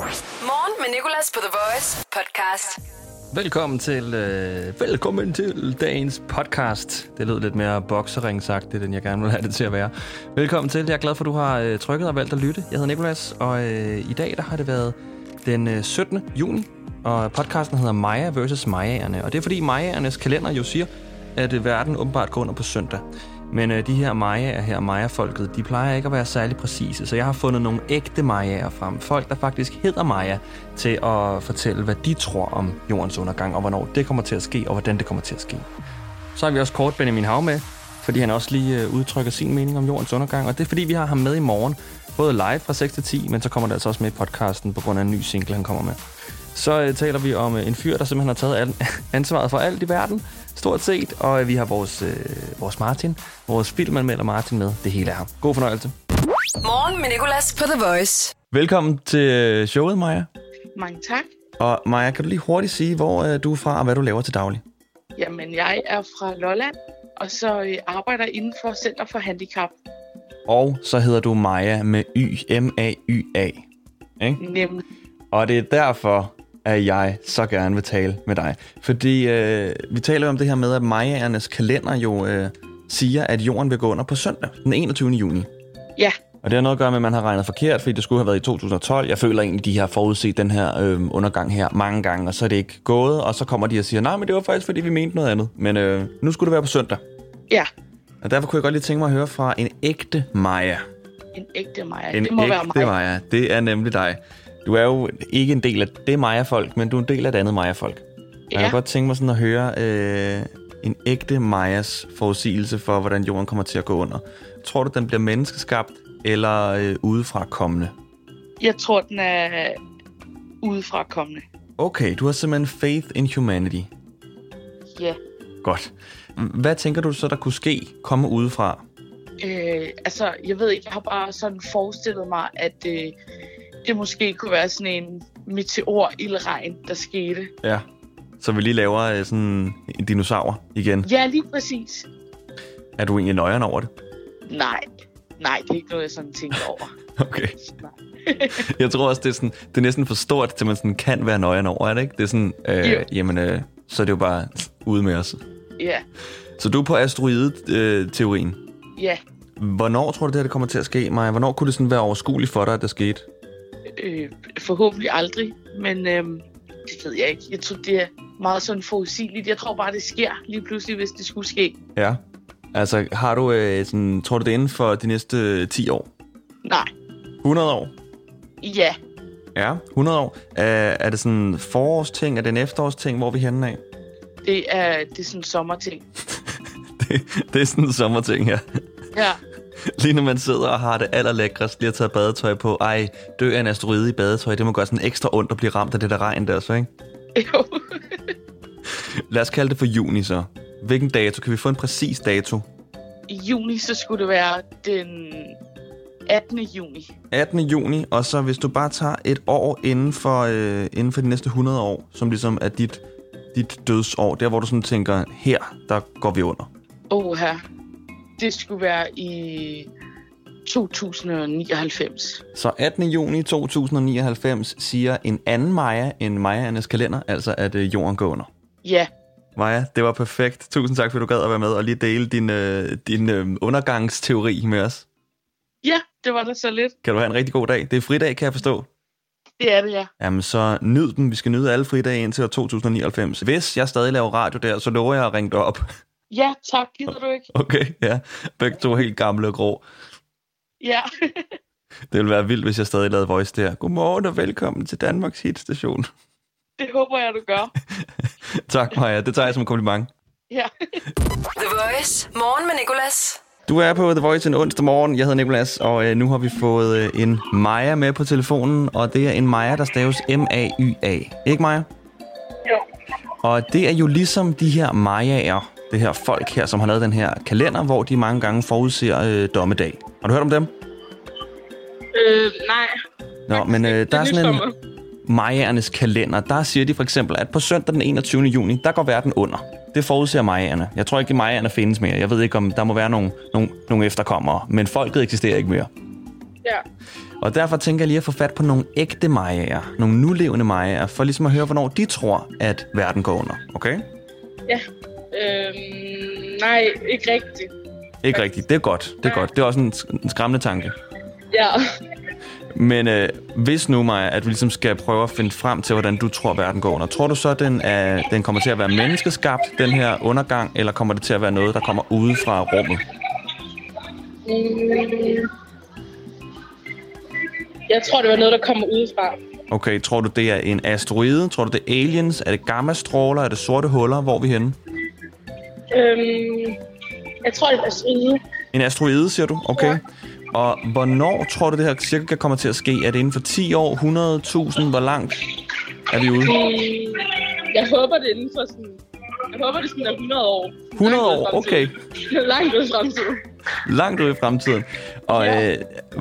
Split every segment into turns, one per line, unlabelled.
Morgen med Nicolas på The Voice podcast.
Velkommen til, øh, velkommen til dagens podcast. Det lød lidt mere bokseringsagtigt, end jeg gerne vil have det til at være. Velkommen til. Jeg er glad for, at du har øh, trykket og valgt at lytte. Jeg hedder Nikolas, og øh, i dag der har det været den øh, 17. juni, og podcasten hedder Maja vs. Majaerne. Og det er fordi Majaernes kalender jo siger, at øh, verden åbenbart går under på søndag. Men øh, de her Majaer her, Maja-folket, de plejer ikke at være særlig præcise, så jeg har fundet nogle ægte Majaer frem. Folk, der faktisk hedder Maja, til at fortælle, hvad de tror om jordens undergang, og hvornår det kommer til at ske, og hvordan det kommer til at ske. Så har vi også kort Benjamin Hav med, fordi han også lige øh, udtrykker sin mening om jordens undergang, og det er fordi, vi har ham med i morgen, både live fra 6 til 10, men så kommer det altså også med i podcasten på grund af en ny single, han kommer med. Så øh, taler vi om øh, en fyr, der simpelthen har taget al- ansvaret for alt i verden, stort set, og øh, vi har vores, øh, vores Martin, vores filmanmelder Martin med. Det hele er ham. God fornøjelse.
Morgen med Nicolas på The Voice.
Velkommen til øh, showet, Maja.
Mange tak.
Og Maja, kan du lige hurtigt sige, hvor øh, du er fra, og hvad du laver til daglig?
Jamen, jeg er fra Lolland, og så øh, arbejder inden for Center for Handicap,
Og så hedder du Maja med Y, M-A-Y-A. Ikke?
nemlig.
Og det er derfor, at jeg så gerne vil tale med dig. Fordi øh, vi taler jo om det her med, at majaernes kalender jo øh, siger, at jorden vil gå under på søndag, den 21. juni.
Ja,
Og det har noget at gøre med, at man har regnet forkert, fordi det skulle have været i 2012. Jeg føler egentlig, de har forudset den her øh, undergang her mange gange, og så er det ikke gået. Og så kommer de og siger, nej, men det var faktisk, fordi vi mente noget andet. Men øh, nu skulle det være på søndag.
ja.
Og derfor kunne jeg godt lige tænke mig at høre fra en ægte Maja.
En ægte Maja.
En
det må
ægte
være mig.
Maja. Det er nemlig dig. Du er jo ikke en del af det Maja-folk, men du er en del af et andet Maja-folk. Og Jeg
Ja.
kunne godt tænke mig sådan at høre øh, en ægte Majas forudsigelse for, hvordan jorden kommer til at gå under. Tror du, den bliver menneskeskabt eller øh, udefra kommende?
Jeg tror, den er udefra kommende.
Okay, du har simpelthen faith in humanity.
Ja.
Godt. Hvad tænker du så, der kunne ske, komme udefra?
Øh, altså, jeg ved ikke, jeg har bare sådan forestillet mig, at øh, det måske kunne være sådan en meteor-ildregn, der skete.
Ja. Så vi lige laver øh, sådan en dinosaur igen.
Ja, lige præcis.
Er du egentlig nøjeren over det?
Nej, nej, det er ikke noget, jeg sådan tænker over.
Okay.
Nej.
Jeg tror også, det er, sådan, det er næsten for stort, til man sådan kan være nøjeren over, er det ikke? Det er sådan, øh,
Jo.
jamen, øh, så er det jo bare ude med os.
Ja,
Så du er på asteroide-teorien.
ja.
Hvornår tror du, det her det kommer til at ske, Maja? Hvornår kunne det sådan være overskueligt for dig, at det skete?
Øh, forhåbentlig aldrig, men øh, det ved jeg ikke. Jeg tror, det er meget sådan forudsigeligt. Jeg tror bare, det sker lige pludselig, hvis det skulle ske.
Ja. Altså, har du øh, sådan, tror du, det er inden for de næste 10 år?
Nej,
100 år?
ja.
Ja, 100 år. Er, er det sådan en forårsting? Er det en efterårsting? Hvor er vi henne af?
Det er, det er sådan en sommerting.
Det, det er sådan en sommerting, ja.
Ja,
Lige når man sidder og har det allerlækrest, lige har taget badetøj på. Ej, dø af en asteroide i badetøj. Det må gøre sådan ekstra ondt at blive ramt af det der regn der, så ikke?
jo.
Lad os kalde det for juni så. Hvilken dato? Kan vi få en præcis dato?
I juni, så skulle det være den 18. juni.
18. juni, og så hvis du bare tager et år inden for, øh, inden for de næste 100 år, som ligesom er dit, dit dødsår, der hvor du sådan tænker, her, der går vi under.
Åh, her. Det skulle være i 2099.
Så 18. juni 2099 siger en anden Maja end Majaernes kalender, altså at øh, jorden går under.
Ja,
Maja, det var perfekt. Tusind tak, fordi du gad at være med og lige dele din, øh, din øh, undergangsteori med os.
ja, det var da så lidt.
Kan du have en rigtig god dag. Det er fridag, kan jeg forstå.
Det er det, ja.
Jamen, så nyd dem. Vi skal nyde alle fridage indtil år 2099. Hvis jeg stadig laver radio der, så lover jeg at ringe dig op.
Ja, tak. Gider du ikke?
Okay, ja. Begge to er helt gamle og grå.
Ja.
Det ville være vildt, hvis jeg stadig lavede voice der. Godmorgen og velkommen til Danmarks hitstation.
Det håber jeg, du gør.
tak, Maja. Det tager jeg som et kompliment.
Ja.
The Voice. Morgen med Nicolas.
Du er på The Voice en onsdag morgen. Jeg hedder Nikolas, og øh, nu har vi fået øh, en Maja med på telefonen. Og det er en Maja, der staves M-A-Y-A. Ikke Maja?
Jo.
Og det er jo ligesom de her Majaer, det her folk her, som har lavet den her kalender, hvor de mange gange forudser øh, dommedag. Har du hørt om dem?
Øh, nej.
Nå, men øh, der er sådan en
nysommeret.
Majaernes kalender. Der siger de for eksempel, at på søndag den 21. juni, der går verden under. Det forudser Majaerne. Jeg tror ikke, at Majaerne findes mere. Jeg ved ikke, om der må være nogle, nogle, nogle efterkommere. Men folket eksisterer ikke mere.
Ja.
Og derfor tænker jeg lige at få fat på nogle ægte majaer, nogle nulevende majaer, for ligesom at høre, hvornår de tror, at verden går under. Okay?
ja. Øhm, nej, ikke rigtigt.
Ikke rigtigt. Det er godt. Det er godt. Det er også en, sk- en skræmmende tanke.
Ja.
Men øh, hvis nu, Maja, at vi ligesom skal prøve at finde frem til, hvordan du tror, verden går under, tror du så, at den, er, den kommer til at være menneskeskabt, den her undergang, eller kommer det til at være noget, der kommer ude fra rummet?
Mm. Jeg tror, det var noget, der kommer udefra.
Okay, tror du, det er en asteroide? Tror du, det er aliens? Er det gammastråler? Er det sorte huller? Hvor er vi henne?
Øhm, jeg tror, altså, det var svide.
En asteroide, siger du? Okay. Og hvornår tror du, det her cirka kommer til at ske? Er det inden for 10 år, 100.000? Hvor langt er vi ude?
Mm, jeg håber, det er inden for sådan... Jeg håber, det sådan er 100 år.
100 år, okay.
Langt ud i fremtiden.
Langt ud i fremtiden. Og
Ja.
øh,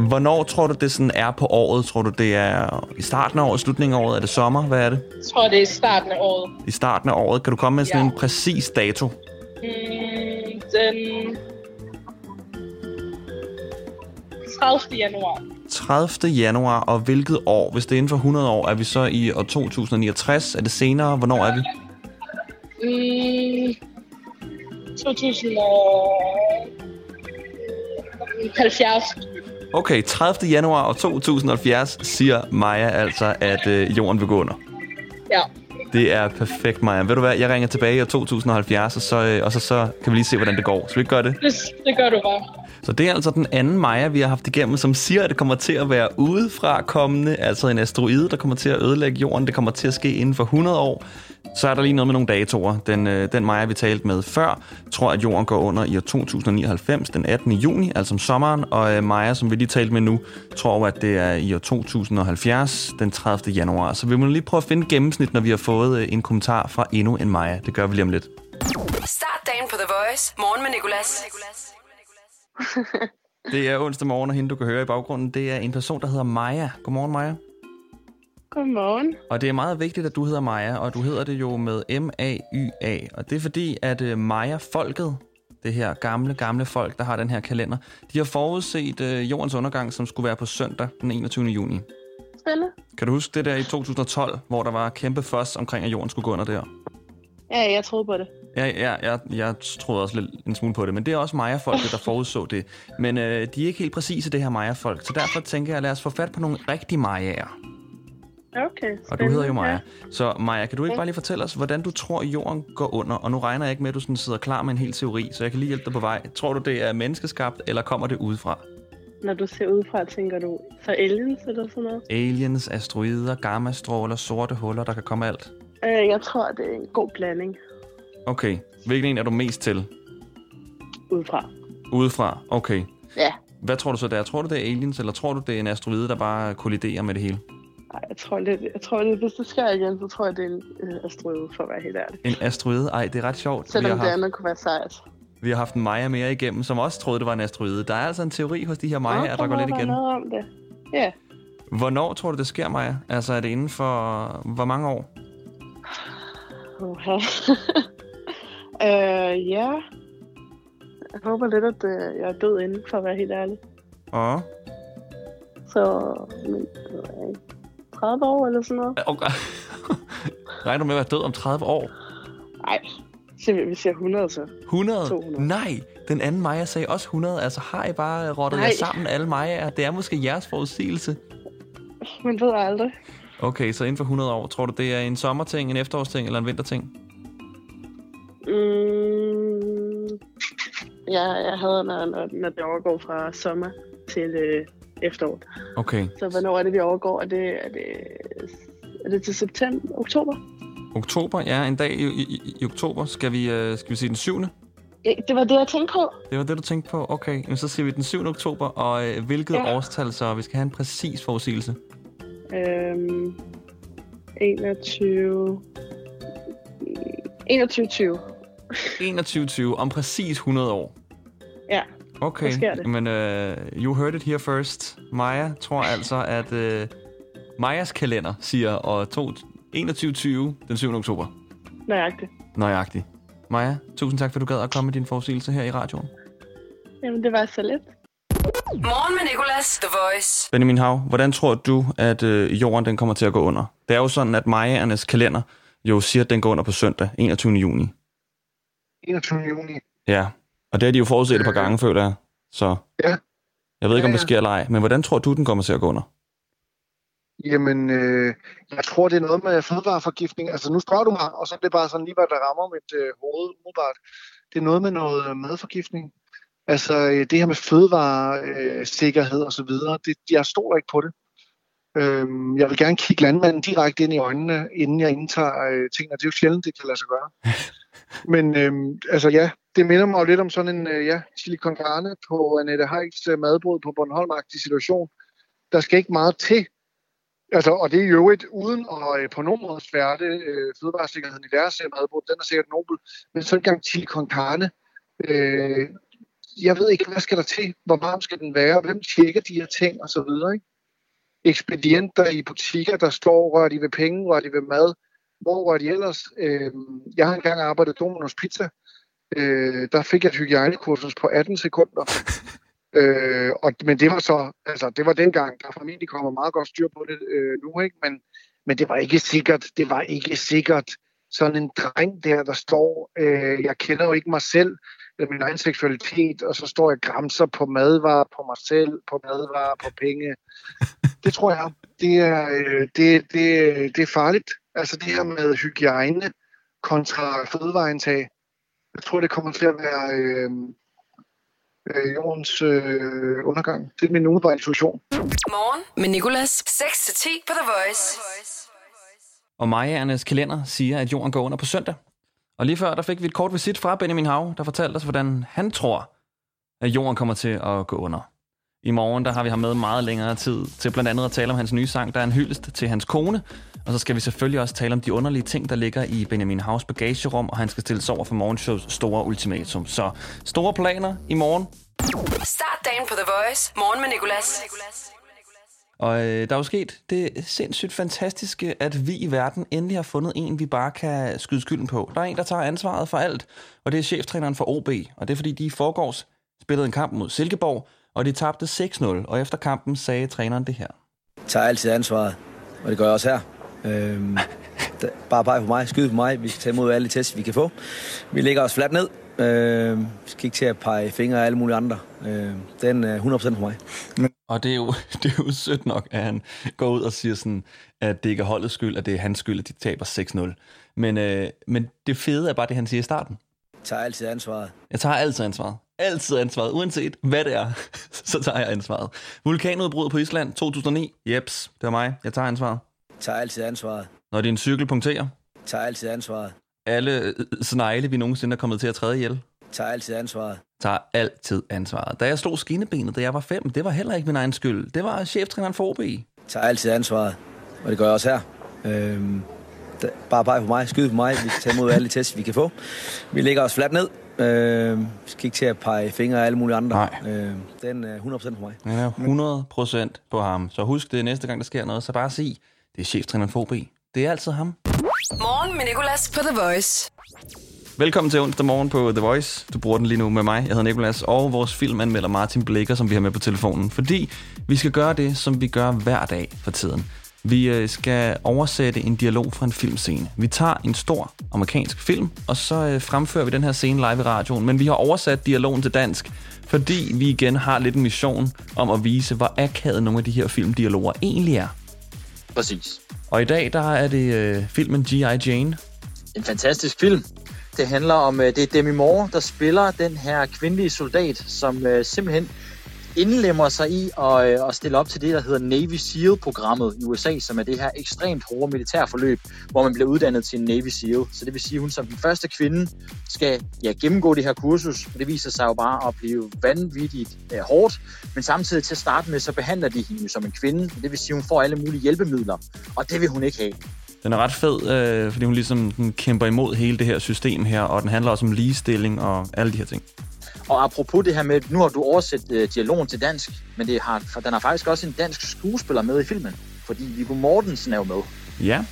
hvornår tror du, det sådan er på året? Tror du, det er i starten af året, slutningen af året? Er det sommer? Hvad er det?
Jeg tror, det er i starten af året.
I starten af året. Kan du komme med sådan
Ja.
en præcis dato?
Mm, den... 30. januar.
30. januar, og hvilket år? Hvis det er inden for 100 år, er vi så i år 2069? Er det senere? Hvornår er vi?
Øh,
Mm, 2070.
Okay, 30. januar og 2070 siger Maja altså, at øh, jorden vil gå under.
Ja.
Det er perfekt, Maja. Ved du hvad, jeg ringer tilbage i år 2070, og så, øh, og så, så kan vi lige se, hvordan det går. Skal vi ikke gøre det?
Det, det gør du bare.
Så det er altså den anden Maja, vi har haft igennem, som siger, at det kommer til at være udefrakommende, altså en asteroide, der kommer til at ødelægge jorden. Det kommer til at ske inden for 100 år. Så er der lige noget med nogle datoer. Den, øh, den Maja, vi talte med før, tror, at jorden går under i år 2099, den 18. juni, altså om sommeren. Og øh, Maja, som vi lige talte med nu, tror, jo, at det er i år 2070, den 30. januar. Så vi må lige prøve at finde gennemsnit, når vi har fået øh, en kommentar fra endnu en Maja. Det gør vi lige om lidt.
Start dagen på The Voice. Morgen med Nicolas.
Det er onsdag morgen, og hende, du kan høre i baggrunden, det er en person, der hedder Maja. Godmorgen, Maja.
Godmorgen.
Og det er meget vigtigt, at du hedder Maja, og du hedder det jo med M-A-Y-A. Og det er fordi, at øh, Maja-folket, det her gamle, gamle folk, der har den her kalender, de har forudset øh, jordens undergang, som skulle være på søndag den 21. juni.
Spille?
Kan du huske det der i 2012, hvor der var kæmpe fuss omkring, at jorden skulle gå under der?
Ja, jeg troede på det.
Ja, ja, jeg, jeg troede også lidt en smule på det, men det er også Maja-folket, der forudså det. Men øh, de er ikke helt præcise, det her Maja-folk, så derfor tænker jeg, lad os få fat på nogle rigtige Majaer.
Okay,
Og du hedder jo Maja. Så Maja, kan du ikke bare lige fortælle os, hvordan du tror, jorden går under? Og nu regner jeg ikke med, at du sådan sidder klar med en hel teori, så jeg kan lige hjælpe dig på vej. Tror du, det er menneskeskabt, eller kommer det udefra?
Når du ser udefra, tænker du, så aliens eller sådan noget?
Aliens, asteroider, gammastråler, sorte huller, der kan komme alt.
Øh, jeg tror, det er en god blanding
Okay, hvilken en er du mest til?
udefra.
Udefra, okay.
Ja.
Hvad tror du så der? Tror du, det er aliens, eller tror du, det er en asteroide, der bare kolliderer med det hele?
Ej, jeg tror lidt, jeg tror lidt, hvis det sker igen, så tror jeg, det er en øh, asteroide, for at være helt ærlig.
En asteroide? Ej, det er ret sjovt. Vi har,
Selvom det
haft,
andet kunne være sejt.
vi har haft en Maja mere igennem, som også troede, det var en asteroide. Der er altså en teori hos de her
Nå,
Majaer, der går
må
lidt
være
igen.
noget om det. Ja,
Hvornår tror du, det sker, Maja? Altså, er det inden for øh, hvor mange år?
Oha. øh, ja. Jeg håber lidt, at øh, jeg er død inden, for at være helt ærlig.
Åh.
Så, men, det ved jeg ikke. 30 år eller sådan noget?
Okay. Regner du med at være død om 30 år?
Nej, simpelthen, vi siger 100 så.
100?
200.
Nej, den anden Maja sagde også 100. Altså, har I bare rottet
Nej.
jer sammen, alle Majaer? Det er måske jeres forudsigelse.
Man ved aldrig.
Okay, så inden for 100 år, tror du, det er en sommerting, en efterårsting eller en vinterting?
Mm, ja, jeg havde, når, når, når det overgår fra sommer til øh, efterår.
Okay,
Så hvornår er det, vi overgår? Er det, er det, er det til september? Oktober?
oktober, ja, en dag i, i, i- i oktober. Skal vi, øh, skal vi sige den 7.
Ja, det var det, jeg tænkte på.
Det var det, du tænkte på? Okay, Jamen, så siger vi den 7. oktober, og øh, hvilket
Ja.
årstal så? Vi skal have en præcis forudsigelse.
Øhm, 21... 21.20.
2120 om præcis 100 år.
Ja,
Okay,
Så sker det.
men uh, you heard it here first. Maja tror altså, at uh, Majas kalender siger og to- 2120 den 7. oktober.
nøjagtigt.
Nøjagtigt. Maja, tusind tak, for at du gad at komme med din forudsigelse her i radioen.
Jamen, det var så lidt.
Morgen med Nicolas, The Voice.
Benjamin Hav, hvordan tror du, at øh, jorden den kommer til at gå under? Det er jo sådan, at Majernes kalender jo siger, at den går under på søndag, 21. juni.
21. juni.
Ja, og det har de jo forudset et par gange, føler jeg. Så
Ja.
jeg ved ikke, om
Ja,
det
ja.
sker eller ej, men hvordan tror du, den kommer til at gå under?
Jamen, øh, jeg tror, det er noget med fødevareforgiftning. Altså, nu spørger du mig, og så er det bare sådan lige, hvad der rammer mit øh, hoved umiddelbart. Det er noget med noget øh, madforgiftning. Altså, øh, det her med fødevaresikkerhed øh, sikkerhed og så videre, det, jeg stoler ikke på det. Øhm, jeg vil gerne kigge landmanden direkte ind i øjnene, inden jeg indtager øh, ting, og det er jo sjældent, det kan lade sig gøre. Men øhm, altså ja, det minder mig jo lidt om sådan en øh, ja, chili con carne på Annette Heiks øh, madbrød på bornholm situation. Der skal ikke meget til, Altså, og det er jo et uden at øh, på nogen måde sværte øh, fødevaresikkerheden i deres øh, madbrug. Den er sikkert nobel. Men sådan en gang til con carne. Øh, jeg ved ikke, hvad skal der til? Hvor varm skal den være? Hvem tjekker de her ting? Og så videre, ikke? Ekspedienter i butikker, der står, rører de ved penge, rører de ved mad? Hvor rører de ellers? Øh, jeg har engang arbejdet i Domino's Pizza. Øh, der fik jeg et hygiejnekursus på 18 sekunder. Øh, og, men det var så, altså det var dengang, der formentlig kommer meget godt styr på det øh, nu, ikke? Men, men det var ikke sikkert, det var ikke sikkert sådan en dreng der, der står, øh, jeg kender jo ikke mig selv, eller min egen seksualitet, og så står jeg og græmser på madvarer, på mig selv, på madvarer, på penge. Det tror jeg, det er, øh, det, det, det er farligt. Altså det her med hygiejne kontra fødevareindtag, jeg tror, det kommer til at være... Øh, øh, jordens øh, undergang. Det er min umiddelbare intuition.
Morgen med Nicolas. 6-10 på The Voice.
Og Majernes kalender siger, at jorden går under på søndag. Og lige før, der fik vi et kort visit fra Benjamin Hav, der fortalte os, hvordan han tror, at jorden kommer til at gå under. I morgen, der har vi ham med meget længere tid til blandt andet at tale om hans nye sang, der er en hyldest til hans kone. Og så skal vi selvfølgelig også tale om de underlige ting, der ligger i Benjamin Havs bagagerum, og han skal stilles over for morgenshows store ultimatum. Så store planer i morgen.
Start dagen på The Voice. Morgen med Nicolas.
Og øh, der er jo sket det sindssygt fantastiske, at vi i verden endelig har fundet en, vi bare kan skyde skylden på. Der er en, der tager ansvaret for alt, og det er cheftræneren for OB. Og det er fordi, de i forgårs spillede en kamp mod Silkeborg, og de tabte 6-0. Og efter kampen sagde træneren det her.
tager altid ansvaret, og det gør jeg også her. Øhm, da- bare pege på mig, skyde på mig. Vi skal tage imod alle de tæsk, vi kan få. Vi lægger os fladt ned. Øhm, skal ikke til at pege fingre af alle mulige andre. Øhm, den er 100% for mig.
Og det er, jo, det er jo sødt nok, at han går ud og siger sådan, at det ikke er holdets skyld, at det er hans skyld, at de taber 6-0. Men, øh, men det fede er bare det, han siger i starten.
Tager altid ansvaret.
Jeg tager altid ansvaret. Altid ansvaret, uanset hvad det er, så tager jeg ansvaret. Vulkanudbrud på Island 2009. Jeps, det var mig. Jeg tager ansvaret.
Tager altid ansvaret.
Når din cykel punkterer,
Tager altid ansvaret.
alle øh, snegle, vi nogensinde er kommet til at træde ihjel,
Tager altid ansvaret.
tager altid ansvaret. Da jeg slog skinnebenet, da jeg var fem, det var heller ikke min egen skyld. Det var cheftræneren for OB.
Tager altid ansvaret, og det gør jeg også her. Øhm, da- bare pege på mig, skyde på mig. Vi skal tage imod alle de tæsk, vi kan få. Vi lægger os fladt ned. Øhm, skal ikke til at pege fingre af alle mulige andre.
Nej.
Øhm, den er 100% for mig.
Den er 100% på ham. Så husk det næste gang, der sker noget, så bare sig, det er cheftræneren for OB. Det er altid ham.
Morgen med Nicolas på The Voice.
Velkommen til onsdag morgen på The Voice. Du bruger den lige nu med mig. Jeg hedder Nikolas, og vores filmanmelder Martin Blækker, som vi har med på telefonen. Fordi vi skal gøre det, som vi gør hver dag for tiden. Vi øh, skal oversætte en dialog fra en filmscene. Vi tager en stor amerikansk film, og så øh, fremfører vi den her scene live i radioen. Men vi har oversat dialogen til dansk, fordi vi igen har lidt en mission om at vise, hvor akavet nogle af de her filmdialoger egentlig er.
Præcis.
Og i dag, der er det øh, filmen G.I. Jane.
En fantastisk film. Det handler om, øh, det er Demi Moore, der spiller den her kvindelige soldat, som øh, simpelthen indlemmer sig i og, øh, og stille op til det, der hedder Navy SEAL-programmet i USA, som er det her ekstremt hårde militærforløb, hvor man bliver uddannet til en Navy SEAL. Så det vil sige, at hun som den første kvinde skal ja, gennemgå det her kursus, og det viser sig jo bare at blive vanvittigt øh, hårdt, men samtidig til at starte med, så behandler de hende jo som en kvinde, og det vil sige, at hun får alle mulige hjælpemidler, og det vil hun ikke have.
Den er ret fed, øh, fordi hun ligesom den kæmper imod hele det her system her, og den handler også om ligestilling og alle de her ting.
Og apropos det her med, nu har du oversat øh, dialogen til dansk, men det har, for den har faktisk også en dansk skuespiller med i filmen, fordi Viggo Mortensen er jo med.
Ja,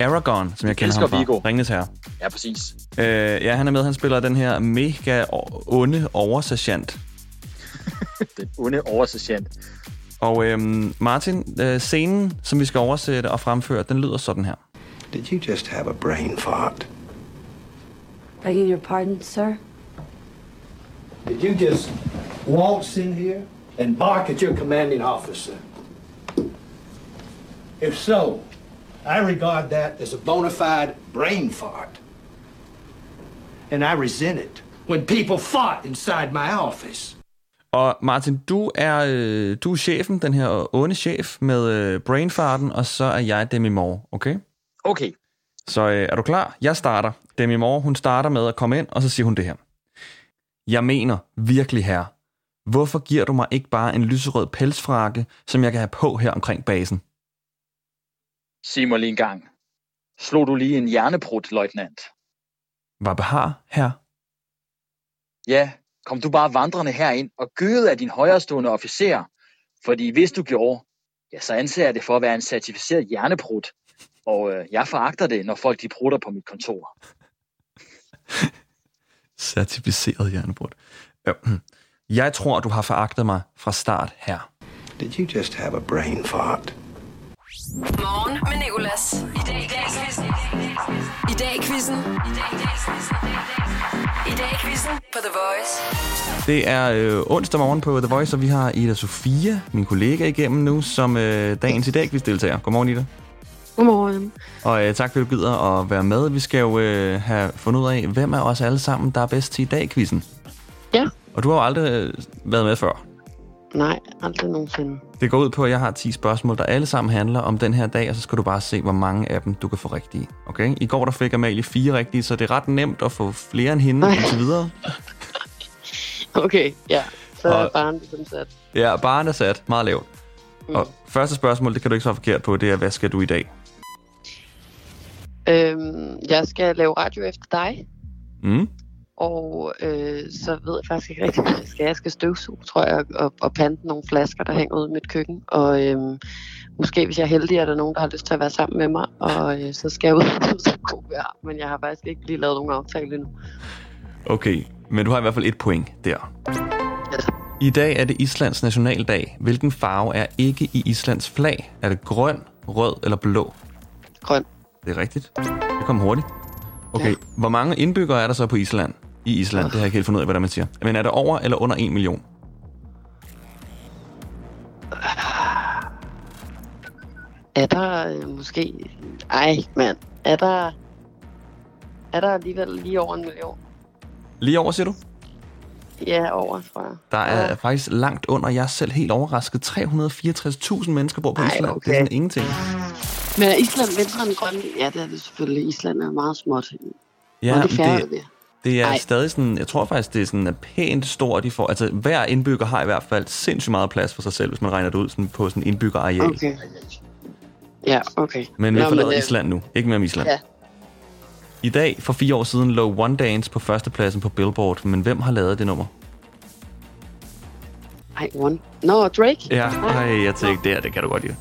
Aragorn, som jeg kender
elsker
ham fra.
Viggo.
Ringnes her.
Ja, præcis.
Øh, ja, han er med. Han spiller den her mega o- onde oversergeant.
den onde oversergeant.
Og øhm, Martin, øh, scenen, som vi skal oversætte og fremføre, den lyder sådan her.
Did you just have a brain fart?
Begging your pardon, sir?
Did you just waltz in here and bark at your commanding officer? If so, I regard that as a bona fide brain fart. And I resent it when people fart inside my office.
Og Martin, du er, øh, du er chefen, den her onde chef med øh, brainfarten, og så er jeg Demi Moore, okay?
Okay,
Så øh, er du klar? Jeg starter. Demi Moore, hun starter med at komme ind, og så siger hun det her. Jeg mener virkelig, herre. Hvorfor giver du mig ikke bare en lyserød pelsfrakke, som jeg kan have på her omkring basen?
sig mig lige en gang. Slog du lige en hjerneprut, løjtnant?
Hvad behar, herre?
Ja, kom du bare vandrende herind og gøde af din højrestående officer. Fordi hvis du gjorde, ja, så anser jeg det for at være en certificeret hjerneprut. Og øh, jeg foragter det, når folk de prutter på mit kontor.
Certificeret hjernebrud. Øh, Jeg tror, du har foragtet mig fra start, herre.
Did you just have a brain fart?
Morgen med Nicolas. I dag i dag quizzen. I dag i quizzen. I dag i dag quizzen. I dag i quizzen på The Voice.
Det er øh, onsdag morgen på The Voice, og vi har Ida Sofia, min kollega, igennem nu, som øh, dagens i dag deltager. Godmorgen, Ida.
Godmorgen.
Og øh, tak, fordi du gider at være med. Vi skal jo øh, have fundet ud af, hvem af os alle sammen, der er bedst til i dag quizzen.
Ja.
Og du har jo aldrig øh, været med før.
Nej, aldrig nogensinde.
Det går ud på, at jeg har 10 spørgsmål, der alle sammen handler om den her dag, og så skal du bare se, hvor mange af dem, du kan få rigtige. Okay? I går der fik Amalie fire rigtige, så det er ret nemt at få flere end hende,
Ej.
indtil videre.
Okay, ja. Så
Og-
er barnet ligesom sat.
Ja, barn er sat. Meget lavt. Mm. Og første spørgsmål, det kan du ikke så forkert på, det er, hvad skal du i dag?
Øhm, jeg skal lave radio efter dig,
Mm?
og øh, så ved jeg faktisk ikke rigtig, hvad jeg skal. Jeg skal støvsuge, tror jeg, og, og pante nogle flasker, der hænger ude i mit køkken. Og øhm, måske, hvis jeg er heldig, er der nogen, der har lyst til at være sammen med mig, og øh, så skal jeg ud så god jeg er. Men jeg har faktisk ikke lige lavet nogen aftale endnu.
Okay, men du har i hvert fald et point der. I dag er det Islands nationaldag. Hvilken farve er ikke i Islands flag? Er det grøn, rød eller blå?
Grøn.
Det er rigtigt. Det kom hurtigt. Okay, hvor mange indbyggere er der så på Island? I Island, det har jeg ikke helt fundet ud af, hvordan man siger. Men er det over eller under 1 million?
Er der øh, måske... Ej, mand. Er der... Er der alligevel lige over en million?
Lige over, siger du?
Ja, over, tror jeg.
Der er
Ja.
faktisk langt under. Jeg er selv helt overrasket. 364.000 mennesker bor på
Ej,
Island. Det
okay.
er sådan ingenting.
Men er Island mindre end Grønland? Ja, det er det selvfølgelig. Island er meget småt. Ja,
Ja,
og det
men det,
færre det...
Det er Ej.
Ej.
stadig sådan, jeg tror faktisk, det er sådan pænt stort, de får. Altså, hver indbygger har i hvert fald sindssygt meget plads for sig selv, hvis man regner det ud sådan, på sådan indbyggerareal. Okay.
Okay. Ja, okay.
Men vi
Nå,
forlader
øh,
Island nu. Ikke mere om Island.
Ja.
I dag, for fire år siden, lå One Dance på førstepladsen på Billboard. Men hvem har lavet det nummer?
Ej, one. Nå, Drake?
Ja, ej, jeg tænkte, det, her, det kan du godt lide.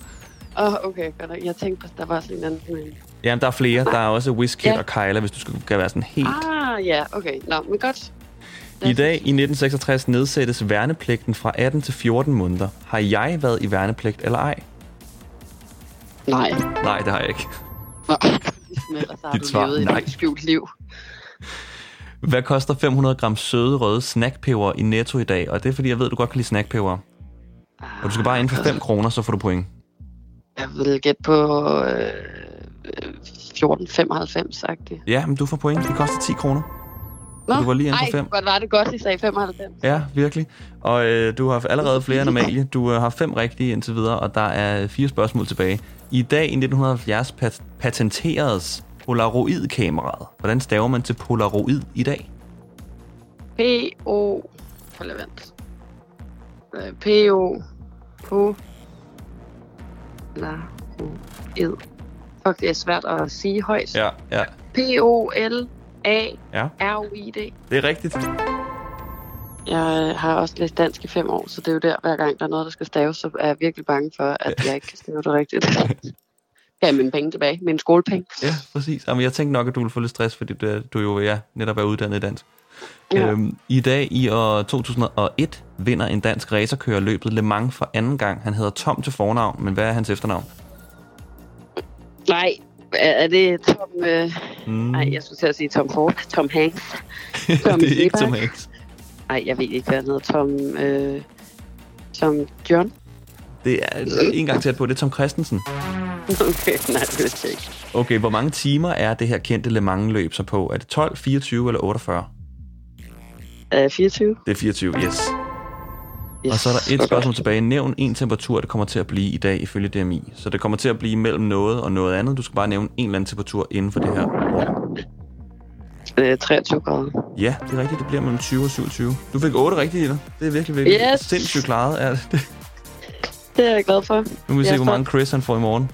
Åh, oh, okay, godt nok. Jeg tænkte, at der var sådan en anden... men-
Jamen, der er flere. Der er også Wizkid
Ja.
og Kyla, hvis du skal kan være sådan helt...
Ah, ja, okay. Nå, men godt.
I dag i 1966 nedsættes værnepligten fra 18 til 14 måneder. Har jeg været i værnepligt eller ej?
Nej.
Nej, det har jeg ikke.
Nå, ligesom ellers har
Dit
du
svar,
levet
nej.
et skjult liv.
Hvad koster 500 gram søde røde snackpeber i Netto i dag? Og det er fordi, jeg ved, du godt kan lide snackpeber. Og du skal bare ind for 5 kroner, så får du point.
Jeg vil gætte på øh, øh, 14,95, sagt det.
Ja, men du får point. Det koster 10 kroner.
Nå,
du var lige inde på
ej,
fem.
godt var det godt, I sagde 95.
Ja, virkelig. Og øh, du har allerede flere end Amalie. Du øh, har fem rigtige indtil videre, og der er øh, fire spørgsmål tilbage. I dag i 1970 pat- patenteredes Polaroid-kameraet. Hvordan staver man til Polaroid i dag?
P-O... Prøv lige at vente. Øh, P-O... På... La... O... Ed. Fuck, det er svært at sige højt.
Ja, ja,
P-O-L-A-R-O-I-D.
ja. Det er rigtigt.
Jeg har også læst dansk i fem år, så det er jo der, hver gang der er noget, der skal staves, så er jeg virkelig bange for, at jeg ikke kan stave det rigtigt. Gav jeg mine penge tilbage. Mine skolepenge.
Ja, præcis. Jamen, jeg tænkte nok, at du ville få lidt stress, fordi du, du jo ja, netop er uddannet i dansk. Ja. Øhm, I dag i år 2001 vinder en dansk racerkører løbet Le Mans for anden gang. Han hedder Tom til fornavn, men hvad er hans efternavn?
Nej, er er det Tom... Øh...
Mm.
Nej, jeg skulle til at sige Tom Ford. Tom Hanks. Tom
det er ikke Tom
Sebak.
Hanks.
Nej, jeg ved ikke, hvad han hedder. Tom... Øh... Tom John?
Det er en gang tæt på, det er Tom Christensen.
Okay, nej, det vidste jeg ikke.
Okay, hvor mange timer er det her kendte Le Mans-løb så på? Er det 12, 24 eller 48?
Øh, 24?
Det er 24, yes.
Yes.
Og så er der et
hvor
spørgsmål
godt.
tilbage. Nævn en temperatur, det kommer til at blive i dag ifølge DMI. Så det kommer til at blive mellem noget og noget andet. Du skal bare nævne en eller anden temperatur inden for det her rum.
Øh, 23 grader.
Ja, det er rigtigt. Det bliver mellem 20 og 27. Du fik 8 rigtigt, Ida. Det er virkelig, virkelig
Yes.
sindssygt klaret. Ja, det.
Det er jeg glad for.
Nu må vi
Jeg
se,
er
hvor mange Chris han får i morgen.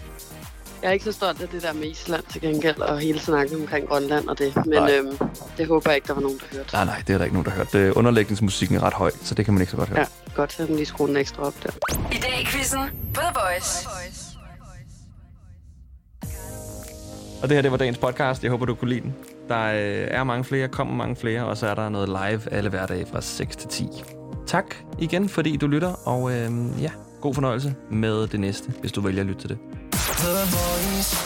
Jeg er ikke så stolt af det der med Island til gengæld, og hele snakken omkring Grønland og det. Men
Nej.
øhm, det håber jeg ikke, der var nogen, der hørte.
Nej, nej, det er der ikke nogen, der har hørt. Øh, Underlægningsmusikken er ret høj, så det kan man ikke så godt høre.
Ja, godt, så den lige skrue den ekstra op der.
I dag i quizzen på The Voice.
Og det her, det var dagens podcast. Jeg håber, du kunne lide den. Der øh, er mange flere, kommer mange flere, og så er der noget live alle hverdage fra 6 til 10. Tak igen, fordi du lytter, og øh, ja, god fornøjelse med det næste, hvis du vælger at lytte til det.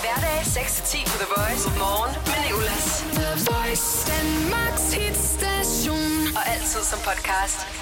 Hverdag 6-10 på The Voice. Morgen med Nicolas. The Voice. Danmarks hitstation. Og altid som podcast.